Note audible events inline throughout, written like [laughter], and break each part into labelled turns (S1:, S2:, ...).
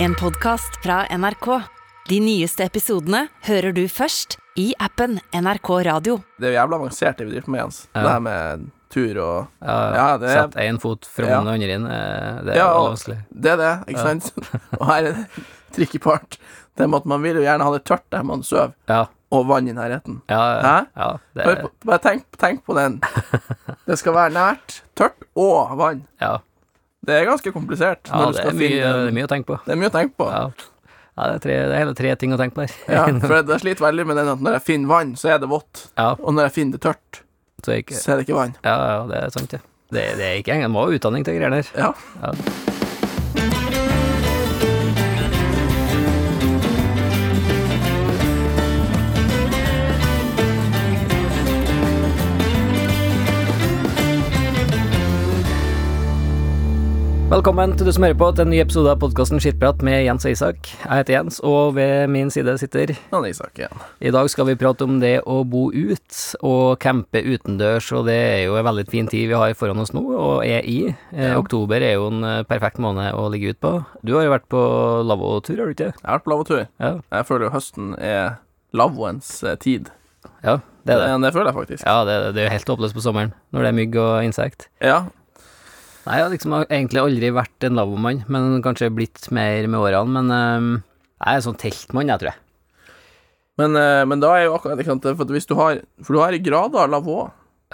S1: En podcast fra NRK. De nyeste episodene hører du først i appen NRK Radio.
S2: Det er jo jævla avansert det vi driver på med, Jens. Det her med tur og Ja, det er-
S3: Sett én fot fram
S2: Ja.
S3: og den andre inn. eh, Det er
S2: Ja,
S3: veldig
S2: og-
S3: vanskelig.
S2: Det er det, ikke sant? [laughs] og her er det tricky part. Det med at man vil jo gjerne ha det tørt der man sover,
S3: Ja,
S2: og vann i nærheten.
S3: ja,
S2: Hæ?
S3: ja det
S2: Bare, på- bare tenk, tenk på
S3: [laughs]
S2: den. Det skal være nært, tørt og vann.
S3: ja,
S2: Det er ganske komplisert.
S3: ja,
S2: når du
S3: det,
S2: skal
S3: er mye,
S2: finne
S3: det
S2: den.
S3: er mye å tenke på.
S2: det er mye å tenke på.
S3: Ja. Ja, det, er tre, det er hele tre ting å tenke på der.
S2: Ja, for jeg- jeg sliter veldig med den at når jeg finner vann, så er det vått.
S3: [laughs] Ja,
S2: Og når jeg finner det tørt,
S3: så ikke,
S2: så er det ikke vann.
S3: ja, ja, det er sant, det. Det, det er ikke engang, må ha utdanning til greier der.
S2: Ja.
S3: Ja. Velkommen til du som hører på til en ny episode av podkasten Skittprat med Jens og Isak. Jeg heter Jens, og ved min side sitter
S2: Nå er det Isak igjen.
S3: I dag skal vi prate om det å bo ut og campe utendørs, og det er jo en veldig fin tid vi har foran oss nå, og er i. Eh, Oktober er jo en eh, perfekt måned å ligge ut på. Du har jo vært på lavvotur, har du ikke? det?
S2: Jeg har vært på lavatur.
S3: Ja,
S2: Jeg føler jo høsten er lavvoens eh, tid.
S3: ja det er det.
S2: Det føler jeg faktisk.
S3: Ja, det, er det. det er jo helt håpløst på sommeren, når det er mygg og insekt.
S2: Ja,
S3: Nei, jeg har liksom egentlig aldri vært en lavvomann, men kanskje blitt mer med årene, men eh, jeg er en sånn teltmann, jeg, tror jeg.
S2: Men, eh, men da er jo akkurat ikke sant, for, at hvis du har, for du har grader av lavvo.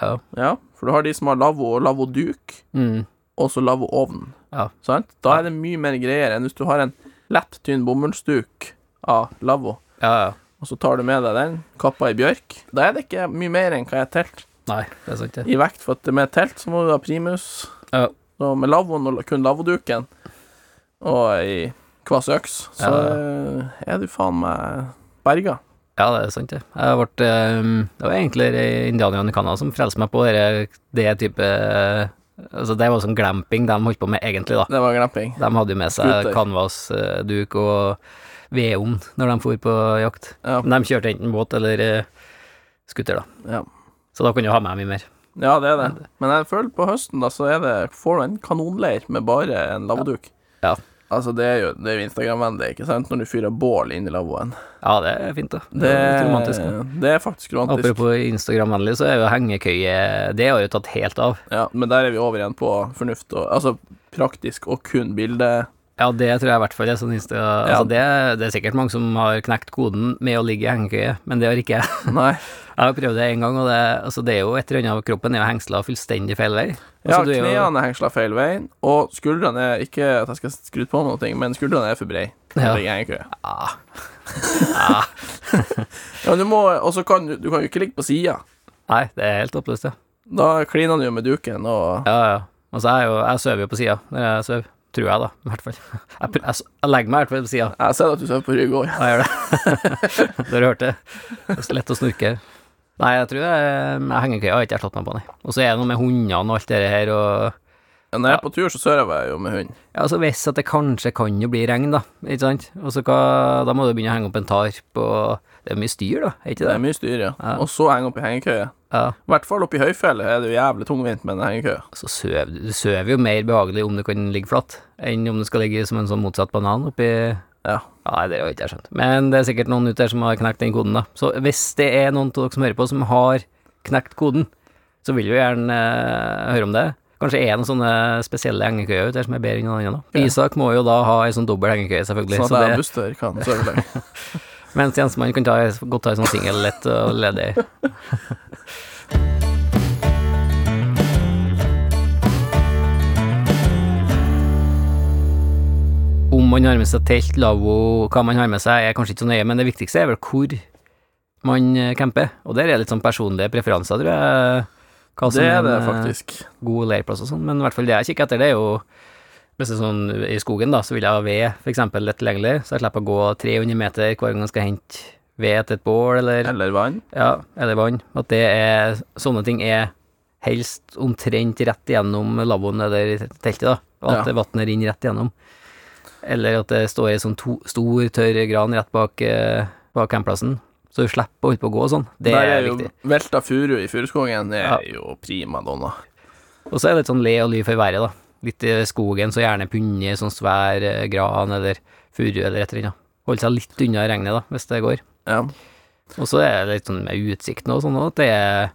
S3: Ja.
S2: Ja, for du har de som har lavvo og lavvoduk,
S3: Mm.
S2: og så lavvoovn.
S3: Ja.
S2: Sant? Da er det mye mer greier enn hvis du har en lett, tynn bomullsduk av lavvo,
S3: ja, ja.
S2: og så tar du med deg den, kappa i bjørk. Da er det ikke mye mer enn hva jeg telt.
S3: Nei, det er sant, det.
S2: I vekt for at med telt så må du ha primus,
S3: Ja.
S2: og med lavvoen og la- kun lavvoduken, og i kvassøks, så eh, er du faen meg berga.
S3: Ja, det er sant, det. Jeg ble, ehm, det var egentlig de indianerne i Canada som frelste meg på det, det type eh, Altså, det var sånn glamping de holdt på med, egentlig, da.
S2: Det var glamping.
S3: De hadde jo med seg
S2: Skuter.
S3: canvasduk og vedovn når de for på jakt.
S2: Ja.
S3: Men de kjørte enten båt eller eh, skuter, da.
S2: Ja.
S3: Så da kunne du ha med mye mer.
S2: Ja, det er det. Men jeg føler på høsten da, så er det, får du en kanonleir med bare en lavvoduk.
S3: Ja.
S2: Altså, det er jo, det er jo Instagram-vennlig, ikke sant, når du fyrer bål inn i lavvoen.
S3: Ja, det er fint, da.
S2: Det,
S3: Det er litt romantisk. da.
S2: det er faktisk romantisk.
S3: Apropos Instagram-vennlig, så er jo hengekøye Det har jo tatt helt av.
S2: Ja, men der er vi over igjen på fornuft og Altså praktisk og kun bilde.
S3: Ja, det tror jeg i hvert fall er sånn insta...
S2: Ja.
S3: Altså, det, det er sikkert mange som har knekt koden med å ligge i hengekøye, men det har ikke jeg. [laughs]
S2: Nei.
S3: Jeg har prøvd det en gang, og det, altså, det er jo et eller annet av kroppen er jo hengsla fullstendig feil vei.
S2: Ja,
S3: Altså, du er jo-
S2: knærne er hengsla feil vei, og skuldrene er ikke at jeg skal skru på noe, men skuldrene er for brei. Det
S3: Ja.
S2: ligger jeg i kø.
S3: Ah.
S2: [laughs] Ja, men du må Og så kan du Du kan jo ikke ligge på sida.
S3: Nei, det er helt oppløst, ja.
S2: Da kliner du jo med duken og
S3: Ja, ja. Altså, jeg, er jo, jeg sover jo på sida når jeg sover. Tror jeg, da. I hvert fall. [laughs] Jeg, pr- jeg, s- jeg legger meg i hvert fall på sida.
S2: Jeg ser at du sover på rygg òg.
S3: Jeg gjør det. [laughs] Dere hørte det. Det er så lett å snorke. Nei, jeg tror jeg, jeg hengekøya har ikke jeg slått meg på, nei. Og så er det noe med hundene og alt det her, og
S2: Når jeg er på tur, så sover jeg jo med hund.
S3: Ja, altså hvis at det kanskje kan jo bli regn, da, ikke sant? Og så hva, da må du begynne å henge opp en tarp, og det er mye styr, da, er ikke
S2: Det
S3: det?
S2: er mye styr, ja. Og så henge opp i hengekøye.
S3: Ja,
S2: I hvert fall oppe i høyfjellet er det jo jævlig tungvint med en hengekøye.
S3: så søv, du søver jo mer behagelig om du kan ligge flatt, enn om du skal ligge som en sånn motsatt banan oppi
S2: Ja.
S3: Nei, det har ikke jeg skjønt. Men det er sikkert noen ute der som har knekt den koden, da. Så hvis det er noen av dere som hører på, som har knekt koden, så vil vi gjerne eh, høre om det. Kanskje er det noen sånne spesielle hengekøyer ute der som er bedre enn noen andre. da. Isak må jo da ha ei sånn dobbel hengekøye, selvfølgelig.
S2: Sånn at
S3: så
S2: jeg
S3: det-
S2: og Buster kan sove
S3: [laughs]
S2: lenge.
S3: Mens Jensemann kan ta, godt ta en sånn singel lett og ledig. Om man har med seg telt, lavvo, hva man har med seg, er kanskje ikke så nøye, men det viktigste er vel hvor man eh, camper. Og der er litt sånn personlige preferanser, tror jeg. Hva som
S2: Det er det
S3: en, eh,
S2: faktisk.
S3: god leirplass og sånn, men i hvert fall det jeg kikker etter, det er jo hvis det er sånn i skogen, da, så vil jeg ha ved, for eksempel, lett tilgjengelig, så jeg slipper å gå 300 meter hver gang jeg skal hente ved til et bål, eller,
S2: Eller vann.
S3: ja, eller vann. At det er Sånne ting er helst omtrent rett igjennom lavvoen eller teltet, da. Og at
S2: Ja.
S3: vannet renner rett igjennom. Eller at det står ei sånn to, stor, tørr gran rett bak, eh, bak campplassen, så du slipper å holde på å gå og sånn. Det
S2: Der
S3: er,
S2: er jo
S3: viktig.
S2: velta furu i furuskogen. Det
S3: Ja.
S2: er jo prima donna.
S3: Og så er det litt sånn le og ly for været, da. litt i skogen, så gjerne punne i sånn svær eh, gran eller furu eller et eller annet. Holde seg litt unna regnet, da, hvis det går.
S2: Ja.
S3: Og så er det litt sånn med utsikten og sånn også, at det er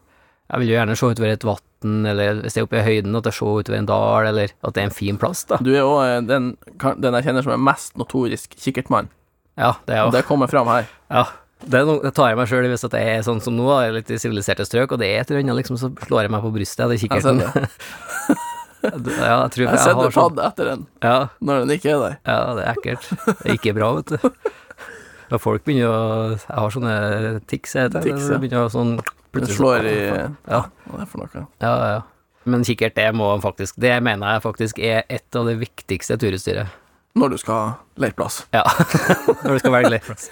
S3: Jeg vil jo gjerne se utover et vann, eller hvis det er oppe i høyden, at jeg ser utover en dal, eller at det er en fin plass, da.
S2: Du er òg den, kan- den jeg kjenner som er mest notorisk kikkertmann.
S3: Ja, det er jo
S2: Og Det kommer fram her.
S3: Ja. Det, er noe, det tar jeg meg sjøl i hvis at jeg er sånn som nå, da, jeg er litt i siviliserte strøk, og det er et eller annet, liksom, så slår jeg meg på brystet, det
S2: Jeg
S3: kikkerten.
S2: ser det.
S3: [laughs] Ja, jeg tror
S2: Jeg
S3: jeg
S2: sender
S3: har sånn.
S2: padd etter den
S3: Ja,
S2: når den ikke er der.
S3: ja, det er ekkelt. Det er ikke bra, vet du. Når folk begynner å Jeg har sånne tics, jeg heter det.
S2: Tics,
S3: når
S2: ja.
S3: det Begynner å sånn
S2: Den
S3: plutselig
S2: slår i
S3: Ja.
S2: Hva er det for noe?
S3: Ja, ja. Men kikkert, det må han faktisk Det mener jeg faktisk er et av det viktigste turutstyret.
S2: Når du skal ha leirplass.
S3: Ja. [laughs] Når du skal velge leirplass.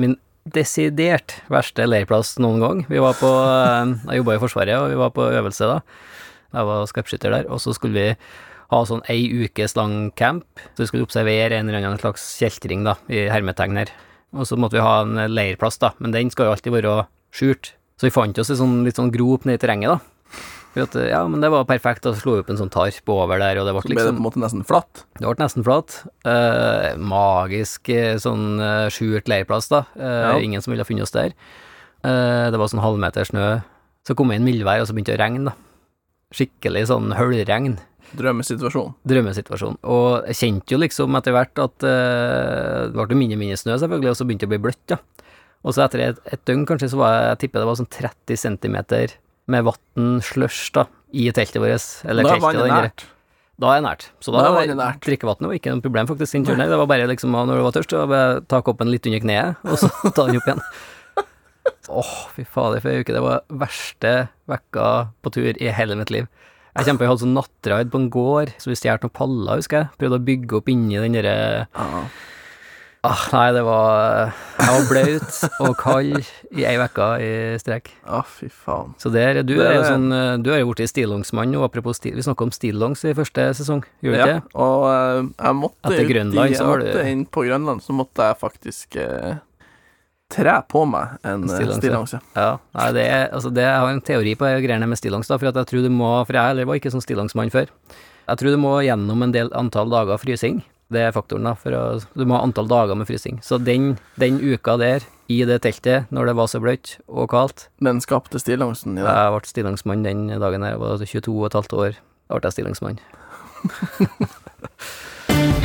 S3: Min desidert verste leirplass noen gang. Vi var på eh, Jeg jobba i Forsvaret, og vi var på øvelse da. Jeg var skarpskytter der, og så skulle vi ha sånn ei ukes lang camp. Så vi skulle observere en eller annen slags kjeltring, da, i hermetegn her. Og så måtte vi ha en leirplass, da, men den skal jo alltid være skjult. Så vi fant oss en sånn, litt sånn grop nede i terrenget, da. For at, ja, men det var perfekt, og så slo vi opp en sånn tarp over der, og det
S2: Så
S3: ble
S2: blir det
S3: liksom
S2: på en måte nesten flatt.
S3: det ble nesten flatt. Eh, magisk eh, sånn eh, skjult leirplass, da. Eh,
S2: Ja.
S3: Ingen som ville ha funnet oss der. Eh, det var sånn halvmeter snø. Så kom det inn mildvær, og så begynte det å regne, da. Skikkelig sånn høljregn.
S2: Drømmesituasjon.
S3: Drømmesituasjon. Og jeg kjente jo liksom etter hvert at eh, det ble mindre og mindre snø, selvfølgelig, og så begynte det å bli bløtt, da. Og så etter et, et døgn, kanskje, så var jeg, jeg tipper det var sånn 30 centimeter med vann, slush, da, i teltet vårt. Eller
S2: Da er
S3: teltet og
S2: vannet
S3: den der-
S2: nært.
S3: da er jeg nært. Så da,
S2: Da er
S3: var
S2: vannet nært.
S3: drikkevannet var ikke noe problem, faktisk, den turen der. Det var bare liksom, ah, når du var tørst, så var det bare ta koppen litt under kneet, og så ta den opp
S2: [laughs]
S3: igjen. Åh, fy fader, for ei uke. Det var verste vekka på tur i hele mitt liv. Jeg kjempa, jeg hadde sånn nattride på en gård, så vi stjal noen paller, husker jeg. Prøvde å bygge opp inni den derre
S2: Ja.
S3: ah, Nei, det var Jeg var blaut og kald i ei uke i strekk.
S2: Å, fy faen.
S3: Så der, du
S2: Det
S3: er jo
S2: er-
S3: sånn eh, Du er jo blitt stillongsmann nå, apropos stil. Vi snakka om stillongs i første sesong, gjorde vi ikke?
S2: Ja, og eh, jeg måtte
S3: Etter Grønland,
S2: ut i,
S3: så var
S2: jeg
S3: det-
S2: måtte inn på Grønland, så måtte jeg faktisk eh, tre på meg en eh,
S3: Stillongs, ja.
S2: stillongs. ja.
S3: Ja, nei, det er, altså det, jeg har en teori på de greiene med stillongs, da, for at jeg tror du må, for jeg heller var ikke sånn stillongsmann før, jeg tror du må gjennom en del antall dager frysing, det er faktoren da, for å, du må ha antall dager med frysing, så den, den uka der, i det teltet, når det var så bløtt og kaldt,
S2: Den skapte stillongsen i deg.
S3: jeg ble stillongsmann den dagen her, jeg var 22 og et halvt år, da ble jeg stillongsmann. [laughs]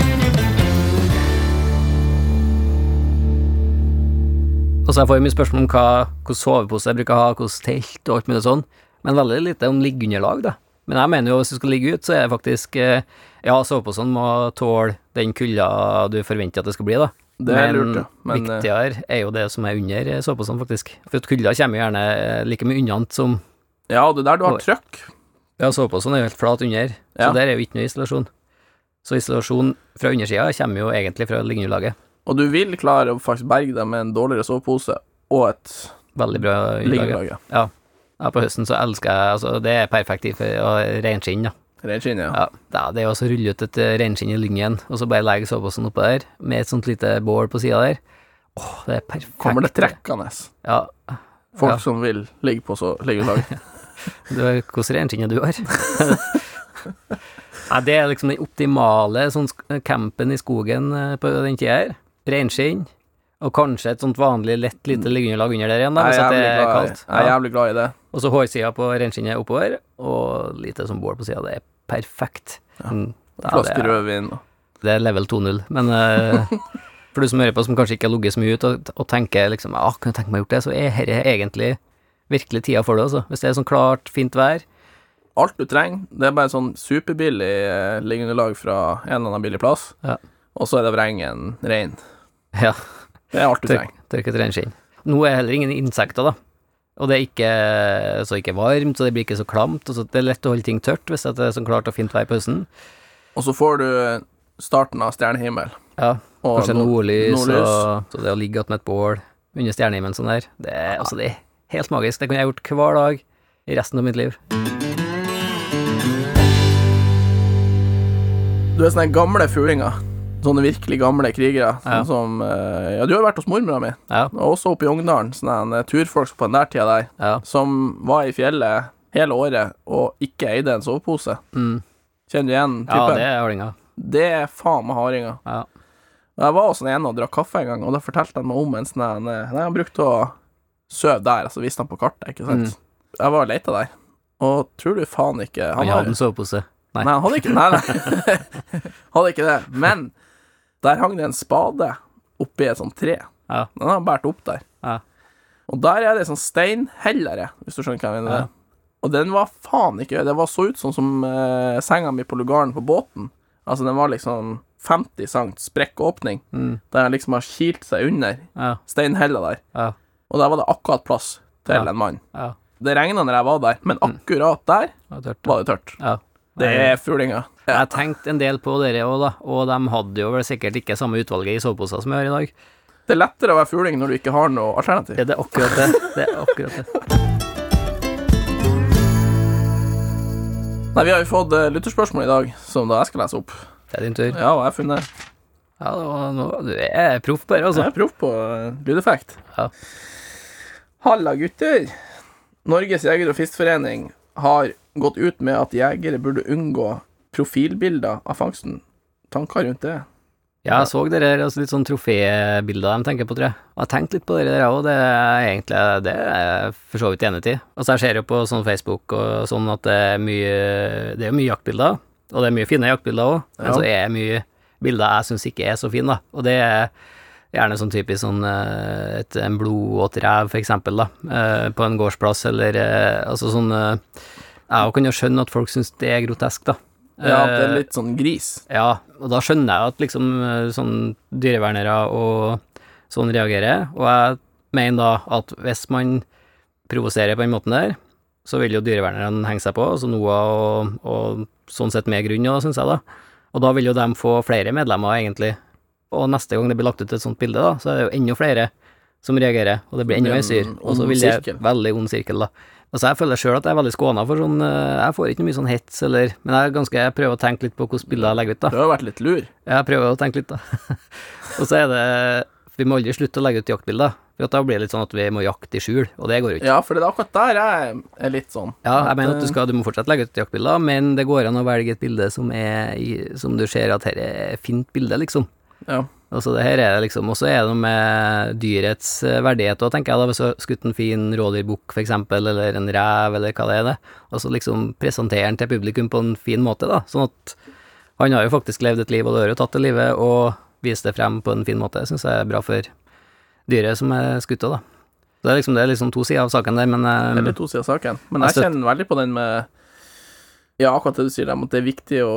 S3: Og så jeg får jo mye spørsmål om hva, hvordan sovepose jeg bruker å ha, hvordan telt og alt mulig sånn, men veldig lite om liggeunderlag, da. Men jeg mener jo hvis du skal ligge ut, så er det faktisk eh, Ja, soveposen må tåle den kulda du forventer at det skal bli, da.
S2: Det er lurt, ja. Men eh,
S3: viktigere er jo det som er under eh, soveposen, faktisk. For at kulda kommer jo gjerne eh, like mye unna som
S2: eh, ja, det der du har trøkk.
S3: ja, soveposen er jo helt flat under, så
S2: Ja.
S3: der er jo ikke noe isolasjon. Så isolasjon fra undersida kommer jo egentlig fra liggeunderlaget.
S2: Og du vil klare å faktisk berge deg med en dårligere sovepose og et
S3: Veldig bra underlag.
S2: liggelag. ja.
S3: Ja, på høsten så elsker jeg altså, Det er perfekt i for- og reinskinn, da.
S2: Reinskinn, ja.
S3: Ja, da, det er jo også å rulle ut et eh, reinskinn i lyngen, og så bare legge soveposen oppå der, med et sånt lite bål på sida der. Åh, det er perfekt.
S2: Kommer det trekkende
S3: Ja.
S2: folk
S3: Ja.
S2: som vil ligge på så liggelag?
S3: [laughs] Du har, hvordan reinskinn er du har? Nei, det er [laughs] liksom den optimale sånn sk- campen i skogen eh, på den tida her. Reinskinn, og kanskje et sånt vanlig lett lite liggeunderlag under der igjen, da,
S2: Jeg
S3: hvis
S2: er
S3: at det
S2: jævlig
S3: er
S2: glad i-
S3: kaldt.
S2: jeg er
S3: Ja.
S2: jævlig glad i det.
S3: Og så hårsida på reinskinnet oppover, og lite som bål på sida. Det er perfekt. Mm. Ja, det
S2: Flaske
S3: er-
S2: rødvin og
S3: det er level 2.0,
S2: [laughs]
S3: men eh, for du som hører på, som kanskje ikke har ligget så mye ut, og, og tenker liksom Ja, kunne jeg tenke meg å gjort det? Så er dette egentlig virkelig tida for det, altså. Hvis det er sånn klart, fint vær.
S2: Alt du trenger. Det er bare sånn superbillig eh, liggeunderlag fra en eller annen billig plass,
S3: Ja.
S2: og så er det vrengen rein.
S3: Ja,
S2: Det er alt du
S3: tørk,
S2: trenger.
S3: tørket reinskinn. Nå er heller ingen insekter, da. Og det er ikke eh, så ikke varmt, så det blir ikke så klamt. Og så det er lett å holde ting tørt hvis at det er sånn klart og fint vær på høsten.
S2: Og så får du starten av stjernehimmel.
S3: Ja,
S2: Og
S3: Kanskje
S2: nord-
S3: nordlys,
S2: nordlys.
S3: Og, så det å ligge attmed et bål under stjernehimmelen sånn der, det er, altså, det er helt magisk. Det kunne jeg gjort hver dag i resten av mitt liv.
S2: Du er sånne gamle fuglinga Sånne virkelig gamle krigere. Sånn
S3: Ja.
S2: som eh, Ja, du har jo vært hos mormora mi,
S3: Ja,
S2: og også oppe i Ungdalen. Sånne eh, turfolk på den der tida der,
S3: ja.
S2: som var i fjellet hele året og ikke eide en sovepose.
S3: Mm.
S2: Kjenner du igjen
S3: ja
S2: typen?
S3: det er ordninga.
S2: det... er faen meg hardinger.
S3: Ja.
S2: Og Jeg var hos en ene og drakk kaffe en gang, og da fortalte han meg om en sånn her- Nei, han brukte å sove der, altså viste han på kartet, ikke sant. Jeg var og leita der, og tror du faen ikke
S3: Mm. Han
S2: har-
S3: hadde en sovepose. Nei.
S2: Nei, han hadde ikke, nei, nei. [laughs] hadde ikke det. Men der hang det en spade oppi et sånt tre.
S3: Ja.
S2: Den har han båret opp der.
S3: Ja.
S2: Og der er det ei sånn steinhellere, hvis du skjønner hva jeg mener.
S3: Ja.
S2: Og den var faen ikke Det var så ut sånn som eh, senga mi på lugaren på båten. Altså, den var liksom 50 cent sprekk åpning,
S3: Mm.
S2: der den liksom har kilt seg under
S3: Ja,
S2: steinhella der.
S3: ja,
S2: Og der var det akkurat plass til
S3: Ja. Mm.
S2: en mann.
S3: ja.
S2: Det regna når jeg var der, men akkurat der
S3: Det var tørt.
S2: var det tørt.
S3: Ja.
S2: Det er fuglinga.
S3: Jeg tenkte en del på dere òg, da, og de hadde jo vel sikkert ikke samme utvalget i soveposer som vi har i dag.
S2: Det er lettere å være fugling når du ikke har noe alternativ.
S3: Det er akkurat det. det, er akkurat det.
S2: Nei, Vi har jo fått eh, lytterspørsmål i dag, som da jeg skal lese opp.
S3: det er din tur.
S2: Ja, og jeg har funnet
S3: Ja, det var noe. Du er proff bare,
S2: Jeg
S3: altså.
S2: er proff på eh, lydeffekt.
S3: Ja.
S2: Halla, gutter! Norges jeger- og fiskforening har gått ut med at jegere burde unngå profilbilder av fangsten. Tanker rundt det?
S3: Ja, jeg så dere her, altså litt sånn trofébilder de tenker på, tror jeg. Og jeg tenkte litt på dere der òg, det er egentlig det er jeg for så vidt enig i. Altså jeg ser jo på sånn Facebook og sånn at det er mye Det er mye jaktbilder, og det er mye fine jaktbilder òg, men
S2: Ja.
S3: så er det mye bilder jeg syns ikke er så fine, da. Og det er gjerne sånn typisk sånn eh, et, en blodvåt rev, for eksempel, da, eh, på en gårdsplass, eller eh, altså sånn eh, Jeg kan jo skjønne at folk syns det er grotesk, da.
S2: Ja, at det
S3: Eh,
S2: er litt sånn gris.
S3: ja, og da skjønner jeg at liksom eh, sånn dyrevernere og sånn reagerer, og jeg mener da at hvis man provoserer på den måten der, så vil jo dyrevernerne henge seg på, altså NOA og, og sånn sett med grunn, også, synes jeg da. Og da vil jo de få flere medlemmer, egentlig. Og neste gang det blir lagt ut et sånt bilde, da, så er det jo enda flere som reagerer, og det blir
S2: Det
S3: enda mer
S2: blir en
S3: syr. Og så
S2: ond
S3: vil det
S2: sirkel.
S3: veldig ond sirkel, da. Altså, jeg føler sjøl at jeg er veldig skåna for sånn eh, Jeg får ikke mye sånn hets, eller Men jeg, er ganske, jeg prøver å tenke litt på hvilke bilder jeg legger ut, da.
S2: Du har jo vært litt lur.
S3: Jeg prøver å tenke litt, da. [laughs] og så er det Vi må aldri slutte å legge ut jaktbilder. For at da blir det litt sånn at vi må jakte i skjul, og det går jo ikke.
S2: Ja, for det er akkurat der jeg er litt sånn.
S3: Ja, jeg mener at du,
S2: eh,
S3: skal, du må fortsatt legge ut jaktbilder, men det går an å velge et bilde som, er, i- som du ser at her er et fint bilde, liksom.
S2: Ja.
S3: Altså det her er det liksom, Og så er det noe med dyrets eh, verdighet òg, tenker jeg. da, Hvis du har skutt en fin rådyrbukk, for eksempel, eller en rev, eller hva det er, det. Og så liksom presentere den til publikum på en fin måte, da. Sånn at han har jo faktisk levd et liv, og det har jo tatt det livet, og vist det frem på en fin måte. Det syns jeg er bra for dyret som er skutt òg, da. Så det er liksom, det er liksom to sider av saken der, men
S2: Det er
S3: eh,
S2: litt to sider av saken. Men
S3: Jeg
S2: jeg kjenner veldig på den med Ja, akkurat det du sier, der, om at det er viktig å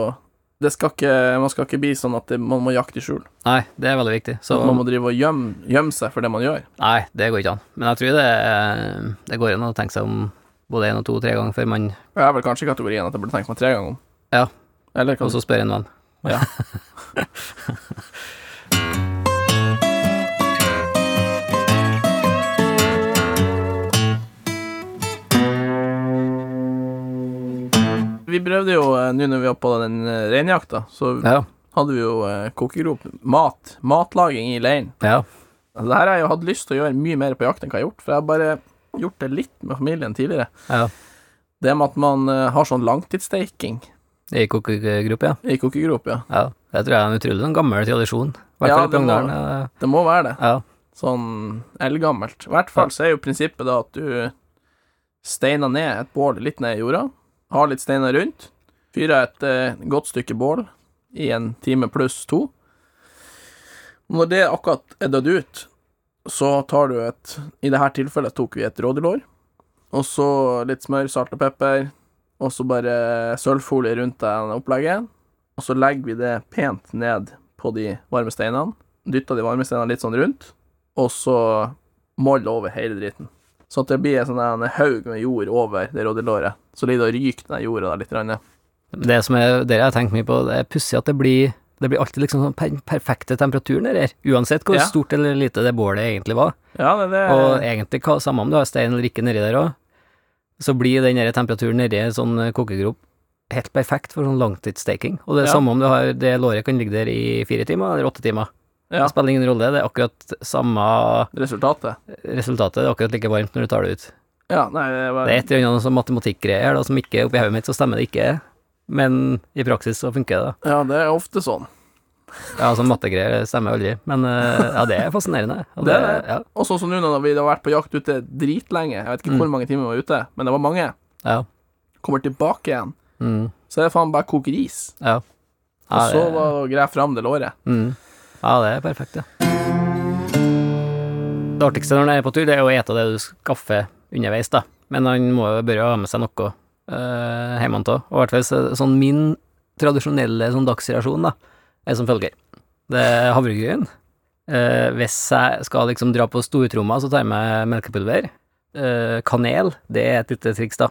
S2: det skal ikke, Man skal ikke bli sånn at det, man må jakte i skjul.
S3: Nei, det er veldig viktig. Så
S2: At man må drive og gjemme, gjemme seg for det man gjør.
S3: Nei, det går ikke an. Men jeg tror det, eh, det går an å tenke seg om både én og to-tre ganger før man
S2: Jeg er vel kanskje i kategorien at jeg burde tenke meg tre ganger om.
S3: Ja.
S2: Eller
S3: Og
S2: kanskje
S3: så spør en venn.
S2: Ja. Vi prøvde jo, eh, nå når vi var på den eh, reinjakta, så
S3: Ja,
S2: hadde vi jo eh, kokegrop. Mat. Matlaging i leiren.
S3: ja.
S2: Altså, det her har jeg jo hatt lyst til å gjøre mye mer på jakt enn hva jeg har gjort, for jeg har bare gjort det litt med familien tidligere.
S3: ja.
S2: Det med at man eh, har sånn langtidssteiking
S3: I kokkegruppe, ja.
S2: i kokegrop, ja.
S3: ja. Det tror jeg er en utrolig sånn gammel tradisjon. I hvert
S2: Ja,
S3: fall i
S2: det må-
S3: Ungdalen. Ja,
S2: Det må være det.
S3: ja.
S2: Sånn eldgammelt. I hvert fall så er jo prinsippet da at du steiner ned et bål litt ned i jorda, har litt steiner rundt, fyrer et eh, godt stykke bål i en time pluss to. Når det akkurat er dødd ut, så tar du et I dette tilfellet tok vi et rådyrlår, og så litt smør, salt og pepper, og så bare sølvfolie rundt det opplegget, og så legger vi det pent ned på de varme steinene, dytter de varme steinene litt sånn rundt, og så moll over hele driten. Sånn at det blir en sånn en haug med jord over det rådyrlåret. Så ligger det og ryker den jorda der litt. Rann, ja.
S3: Det som er, dere har tenkt mye på, det er pussig at det blir det blir alltid liksom sånn per perfekte temperaturen der, her. uansett hvor
S2: Ja.
S3: stort eller lite det bålet egentlig var.
S2: ja, det, det
S3: Og egentlig, hva, samme om du har stein eller ikke nedi der òg, så blir den der temperaturen nedi en sånn eh, kokegrop helt perfekt for sånn langtidsstaking. Og det er
S2: Ja.
S3: samme om du har det låret kan ligge der i fire timer eller åtte timer.
S2: Ja.
S3: Det spiller ingen rolle, det er akkurat samme
S2: Resultatet?
S3: resultatet, det er akkurat like varmt når du tar det ut.
S2: Ja, nei, det var
S3: Det er et eller annet sånn matematikkgreier da, som ikke oppi hodet mitt, så stemmer det ikke. Men i praksis så funker det, da.
S2: Ja, det er ofte sånn.
S3: Ja, sånn mattegreier det stemmer aldri. Men eh, ja, det er fascinerende. Og
S2: Det er
S3: Ja,
S2: Og sånn som nå når vi har vært på jakt ute dritlenge, jeg vet ikke
S3: Mm.
S2: hvor mange timer vi var ute, men det var mange,
S3: ja.
S2: kommer tilbake igjen,
S3: Mm,
S2: så er det faen bare å koke ris.
S3: ja.
S2: Og
S3: ja
S2: så
S3: det-
S2: var det å greie fram det låret.
S3: Mm. Ja, det er perfekt, ja. Det artigste når en er på tur, det er jo å ete det du skaffer underveis, da. Men han må jo bare ha med seg noe uh, hjemmefra. Og i hvert fall så- sånn min tradisjonelle sånn dagsreasjon, da, er som følger. Det er havregryn. Eh, hvis jeg skal liksom dra på stortromma, så tar jeg med melkepulver. Eh, kanel, det er et lite triks, da.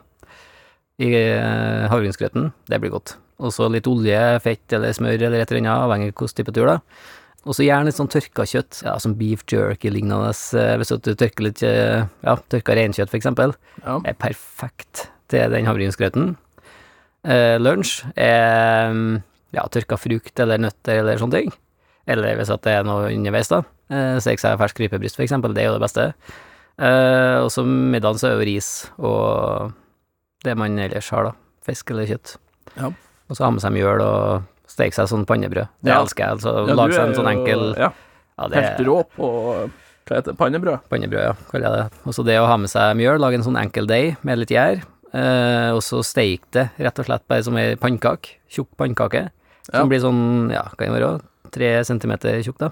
S3: I eh, havregrynsgrøten. Det blir godt. Og så litt olje, fett eller smør eller et eller annet, avhengig av hvilken type tur, da. Og så gjerne litt sånn tørka kjøtt, ja, som beef jerky lignende, eh, hvis at du tørker litt eh, ja, tørka reinkjøtt, for eksempel.
S2: Ja.
S3: Er perfekt til den havregrynsgrøten. Eh, lunsj er mm, ja, tørka frukt eller nøtter eller sånne ting. Eller hvis at det er noe underveis, da. Eh, Stek seg fersk rypebryst, for eksempel, det er jo det beste. Eh, og så middagen så er jo ris og det man ellers har, da. Fisk eller kjøtt.
S2: Ja.
S3: Og så ha med seg mjøl og steke seg sånn pannebrød. Det
S2: Ja.
S3: elsker jeg. altså
S2: Ja, du
S3: Lage seg
S2: er
S3: en sånn
S2: jo-
S3: enkel
S2: Ja,
S3: ja, det
S2: helt
S3: er
S2: rå på hva heter det, pannebrød.
S3: pannebrød, ja, kaller jeg det. Og så det å ha med seg mjøl, lage en sånn enkel deig med litt gjær, eh, og så steike det rett og slett bare som ei pannkake, tjukk pannkake, som
S2: Ja.
S3: blir sånn, ja, hva kan det være, tre centimeter tjukk, da.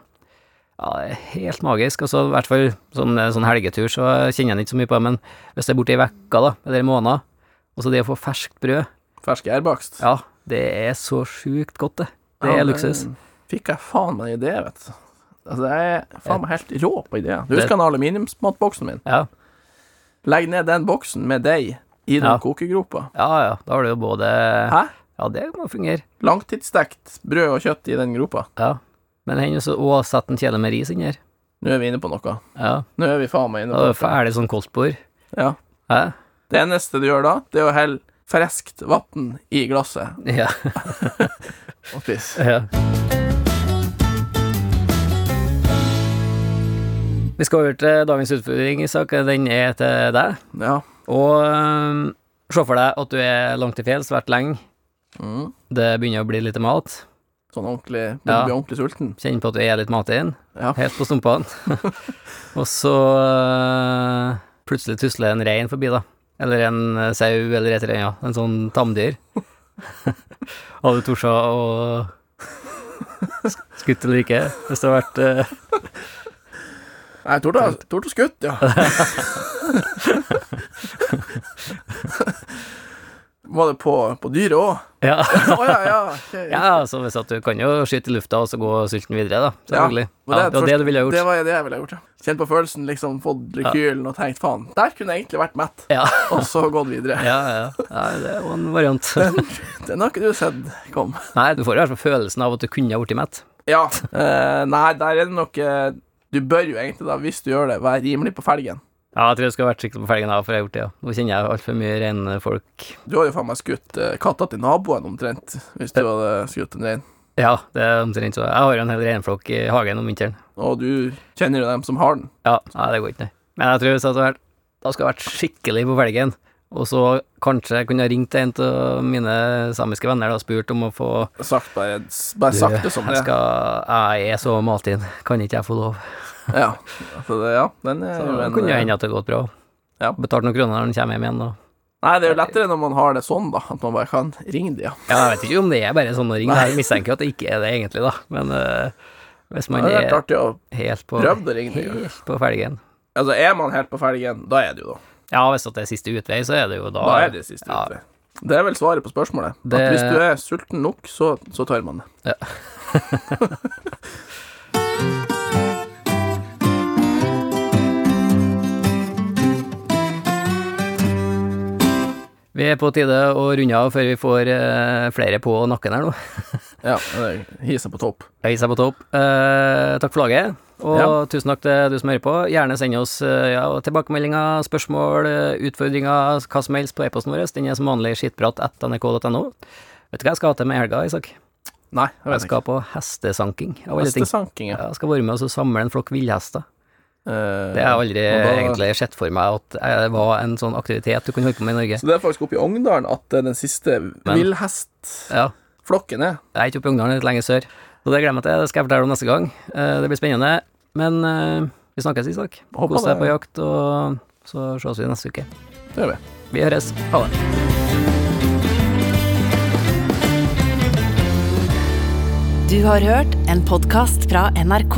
S3: Ja, det er helt magisk. Altså, i hvert fall sånn, sånn helgetur, så kjenner jeg ikke så mye på det, men hvis det er borte i vekka, da, eller i måneder, og så det å få ferskt brød,
S2: Fersk gjærbakst.
S3: ja, det er så sjukt godt, det. Det er
S2: Ja,
S3: luksus.
S2: Fikk jeg faen meg en idé, vet du. Altså, jeg er faen meg helt rå på ideer. Du
S3: Det-
S2: husker den aluminiumsmatboksen min?
S3: Ja,
S2: Legg ned den boksen med deig i den
S3: Ja.
S2: kokegropa.
S3: ja, ja, da har du jo både
S2: Hæ?
S3: Ja, det må fungere.
S2: Langtidsstekt brød og kjøtt i den gropa.
S3: Ja. Men hender så å sette en kjele med ris inn her.
S2: Nå er vi inne på noe.
S3: Ja.
S2: Nå er vi faen meg inne
S3: Da er det
S2: på noe.
S3: ferdig sånn koldtbord.
S2: Ja.
S3: Hæ?
S2: Det eneste du gjør da, det er å helle friskt vann i glasset
S3: Ja.
S2: og spise.
S3: ja. Vi skal over til dagens utfordring, Isak. Den er til deg.
S2: Ja.
S3: Og øhm, se for deg at du er langt til fjells, vært lenge.
S2: Mm.
S3: Det begynner å bli litt mat.
S2: Sånn ordentlig Du
S3: Ja.
S2: blir ordentlig sulten.
S3: Kjenner på at du er litt matin.
S2: Ja.
S3: Helt på
S2: [laughs]
S3: stumpene. og så øh, plutselig tusler en rein forbi, da. Eller en øh, sau, eller et eller annet. En sånn
S2: [laughs]
S3: tamdyr. Hadde du tort å Skutt eller ikke, hvis det hadde vært øh,
S2: Nei, torde torde skutt,
S3: [laughs]
S2: ja. Var det på, på dyret òg?
S3: Ja,
S2: Å ja, ja. ok.
S3: ja så hvis at du kan jo skyte i lufta og så gå sulten videre, da. Selvfølgelig.
S2: men
S3: Ja,
S2: det er
S3: det var det du ville ha
S2: Det
S3: gjort.
S2: var det jeg ville ha gjort, ja. Kjent på følelsen, liksom fått rekylen og tenkt faen, der kunne jeg egentlig vært mett,
S3: Ja,
S2: [laughs] og så gått videre.
S3: ja, ja. ja det er jo en variant.
S2: [laughs] Den har ikke du sett komme.
S3: Nei, du får i hvert fall følelsen av at du kunne ha blitt mett.
S2: Ja. eh, nei, der er det nok eh, Du bør jo egentlig, da, hvis du gjør det, være rimelig på felgen.
S3: Ja, jeg tror jeg skulle vært skikkelig på felgen da, for jeg har gjort det, ja. Nå kjenner jeg altfor mye rene folk.
S2: Du har jo faen meg skutt eh, katta til naboen omtrent, hvis du hadde skutt en rein.
S3: Ja, det er omtrent så. Jeg har jo en hel reinflokk i hagen om vinteren.
S2: Og du kjenner jo dem som har den.
S3: Ja, nei, det går ikke, nei. Men jeg tror hvis jeg hadde vært, da skulle jeg vært skikkelig på felgen, og så kanskje jeg kunne ha ringt en av mine samiske venner da, og spurt om å få
S2: Sagt bare, bare sagt det som
S3: jeg
S2: det.
S3: skal, Jeg er så matinn, kan ikke jeg få lov?
S2: Ja. Altså, det, ja, den er
S3: Så
S2: jo
S3: det
S2: en
S3: kunne jo
S2: eh,
S3: hende at det hadde gått bra.
S2: Ja.
S3: Betalt noen kroner når han kommer hjem igjen. Og.
S2: Nei, det er jo lettere når man har det sånn, da. At man bare kan ringe de, ja.
S3: Ja, jeg vet ikke om det er bare sånn å ringe, jeg mistenker jo at det ikke er det egentlig, da. Men eh, hvis
S2: Det
S3: man
S2: hadde
S3: er
S2: vært artig å
S3: helt på,
S2: prøve å ringe de. ja.
S3: helt på felgen
S2: Altså, er man helt på felgen, da er det jo da.
S3: Ja, hvis at det er siste utvei, så er det jo da
S2: Da er det siste
S3: ja.
S2: utvei. Det er vel svaret på spørsmålet.
S3: Det-
S2: At hvis du er sulten nok, så, så tør man det.
S3: Vi er på tide å runde av før vi får eh, flere på nakken her nå.
S2: Ja, det er hisen på topp.
S3: Heisa på topp. Eh, takk for laget. Og
S2: Ja.
S3: tusen takk til du som hører på. Gjerne send oss eh, ja, tilbakemeldinger, spørsmål, eh, utfordringer, hva som helst på e-posten vår. Den er som vanlig skittprat.nrk.no. Vet du hva jeg skal ha til med helga, Isak?
S2: Nei, jeg
S3: Jeg
S2: vet
S3: skal
S2: ikke.
S3: på hestesanking, av alle ting.
S2: Hestesanking, ja.
S3: Ja, jeg skal være med oss og samle en flokk villhester.
S2: Eh,
S3: Det har jeg aldri
S2: og da-
S3: egentlig sett for meg at eh, var en sånn aktivitet du kunne holde på med i Norge.
S2: Så det er faktisk oppe i Ogndalen at det er den siste villhestflokken
S3: Ja.
S2: er.
S3: Jeg er ikke oppe i Ungdalen, litt lenger sør. Så det glemmer jeg til, det skal jeg fortelle om neste gang. Eh, Det blir spennende. Men eh, vi snakkes, Isak.
S2: Håper
S3: Kos deg
S2: det.
S3: på jakt, og så ses vi neste uke.
S2: Det gjør vi.
S3: Vi høres. Ha det.
S1: Du har hørt en podkast fra NRK.